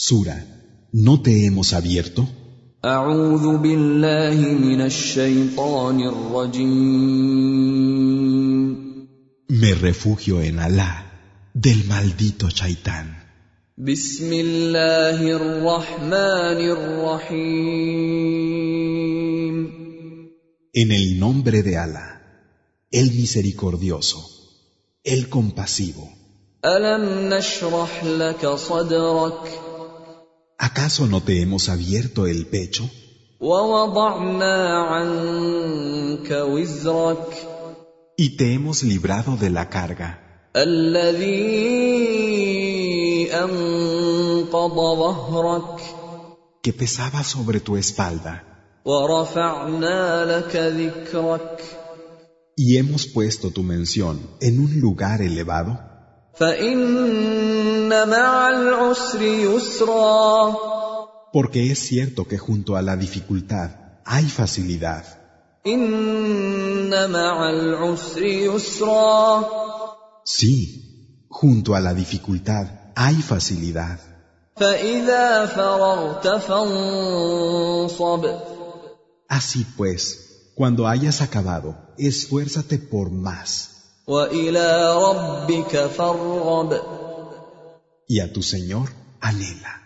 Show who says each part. Speaker 1: Sura, ¿no te hemos abierto?
Speaker 2: أعوذ بالله من الشيطان الرجيم
Speaker 1: Me refugio en Alá, del maldito Chaitán.
Speaker 2: بسم الله الرحمن الرحيم
Speaker 1: En el nombre de Alá, el misericordioso, el compasivo.
Speaker 2: ألم نشرح لك صدرك
Speaker 1: ¿Acaso no te hemos abierto el pecho?
Speaker 2: ووضعنا عنك وزرك
Speaker 1: Y te hemos librado de la carga,
Speaker 2: الذي أنقض ظهرك
Speaker 1: que pesaba sobre tu espalda,
Speaker 2: ورفعنا لك ذكرك
Speaker 1: y hemos puesto tu mención en un lugar elevado.
Speaker 2: فإن مع العسر يسرا
Speaker 1: Porque es cierto que junto a la dificultad hay facilidad.
Speaker 2: إن مع العسر يسرا
Speaker 1: Sí, junto a la dificultad hay facilidad.
Speaker 2: فإذا فرغت فانصب
Speaker 1: Así pues, cuando hayas acabado, esfuérzate por más,
Speaker 2: وإلى ربك فارغب
Speaker 1: y a tu Señor anhela.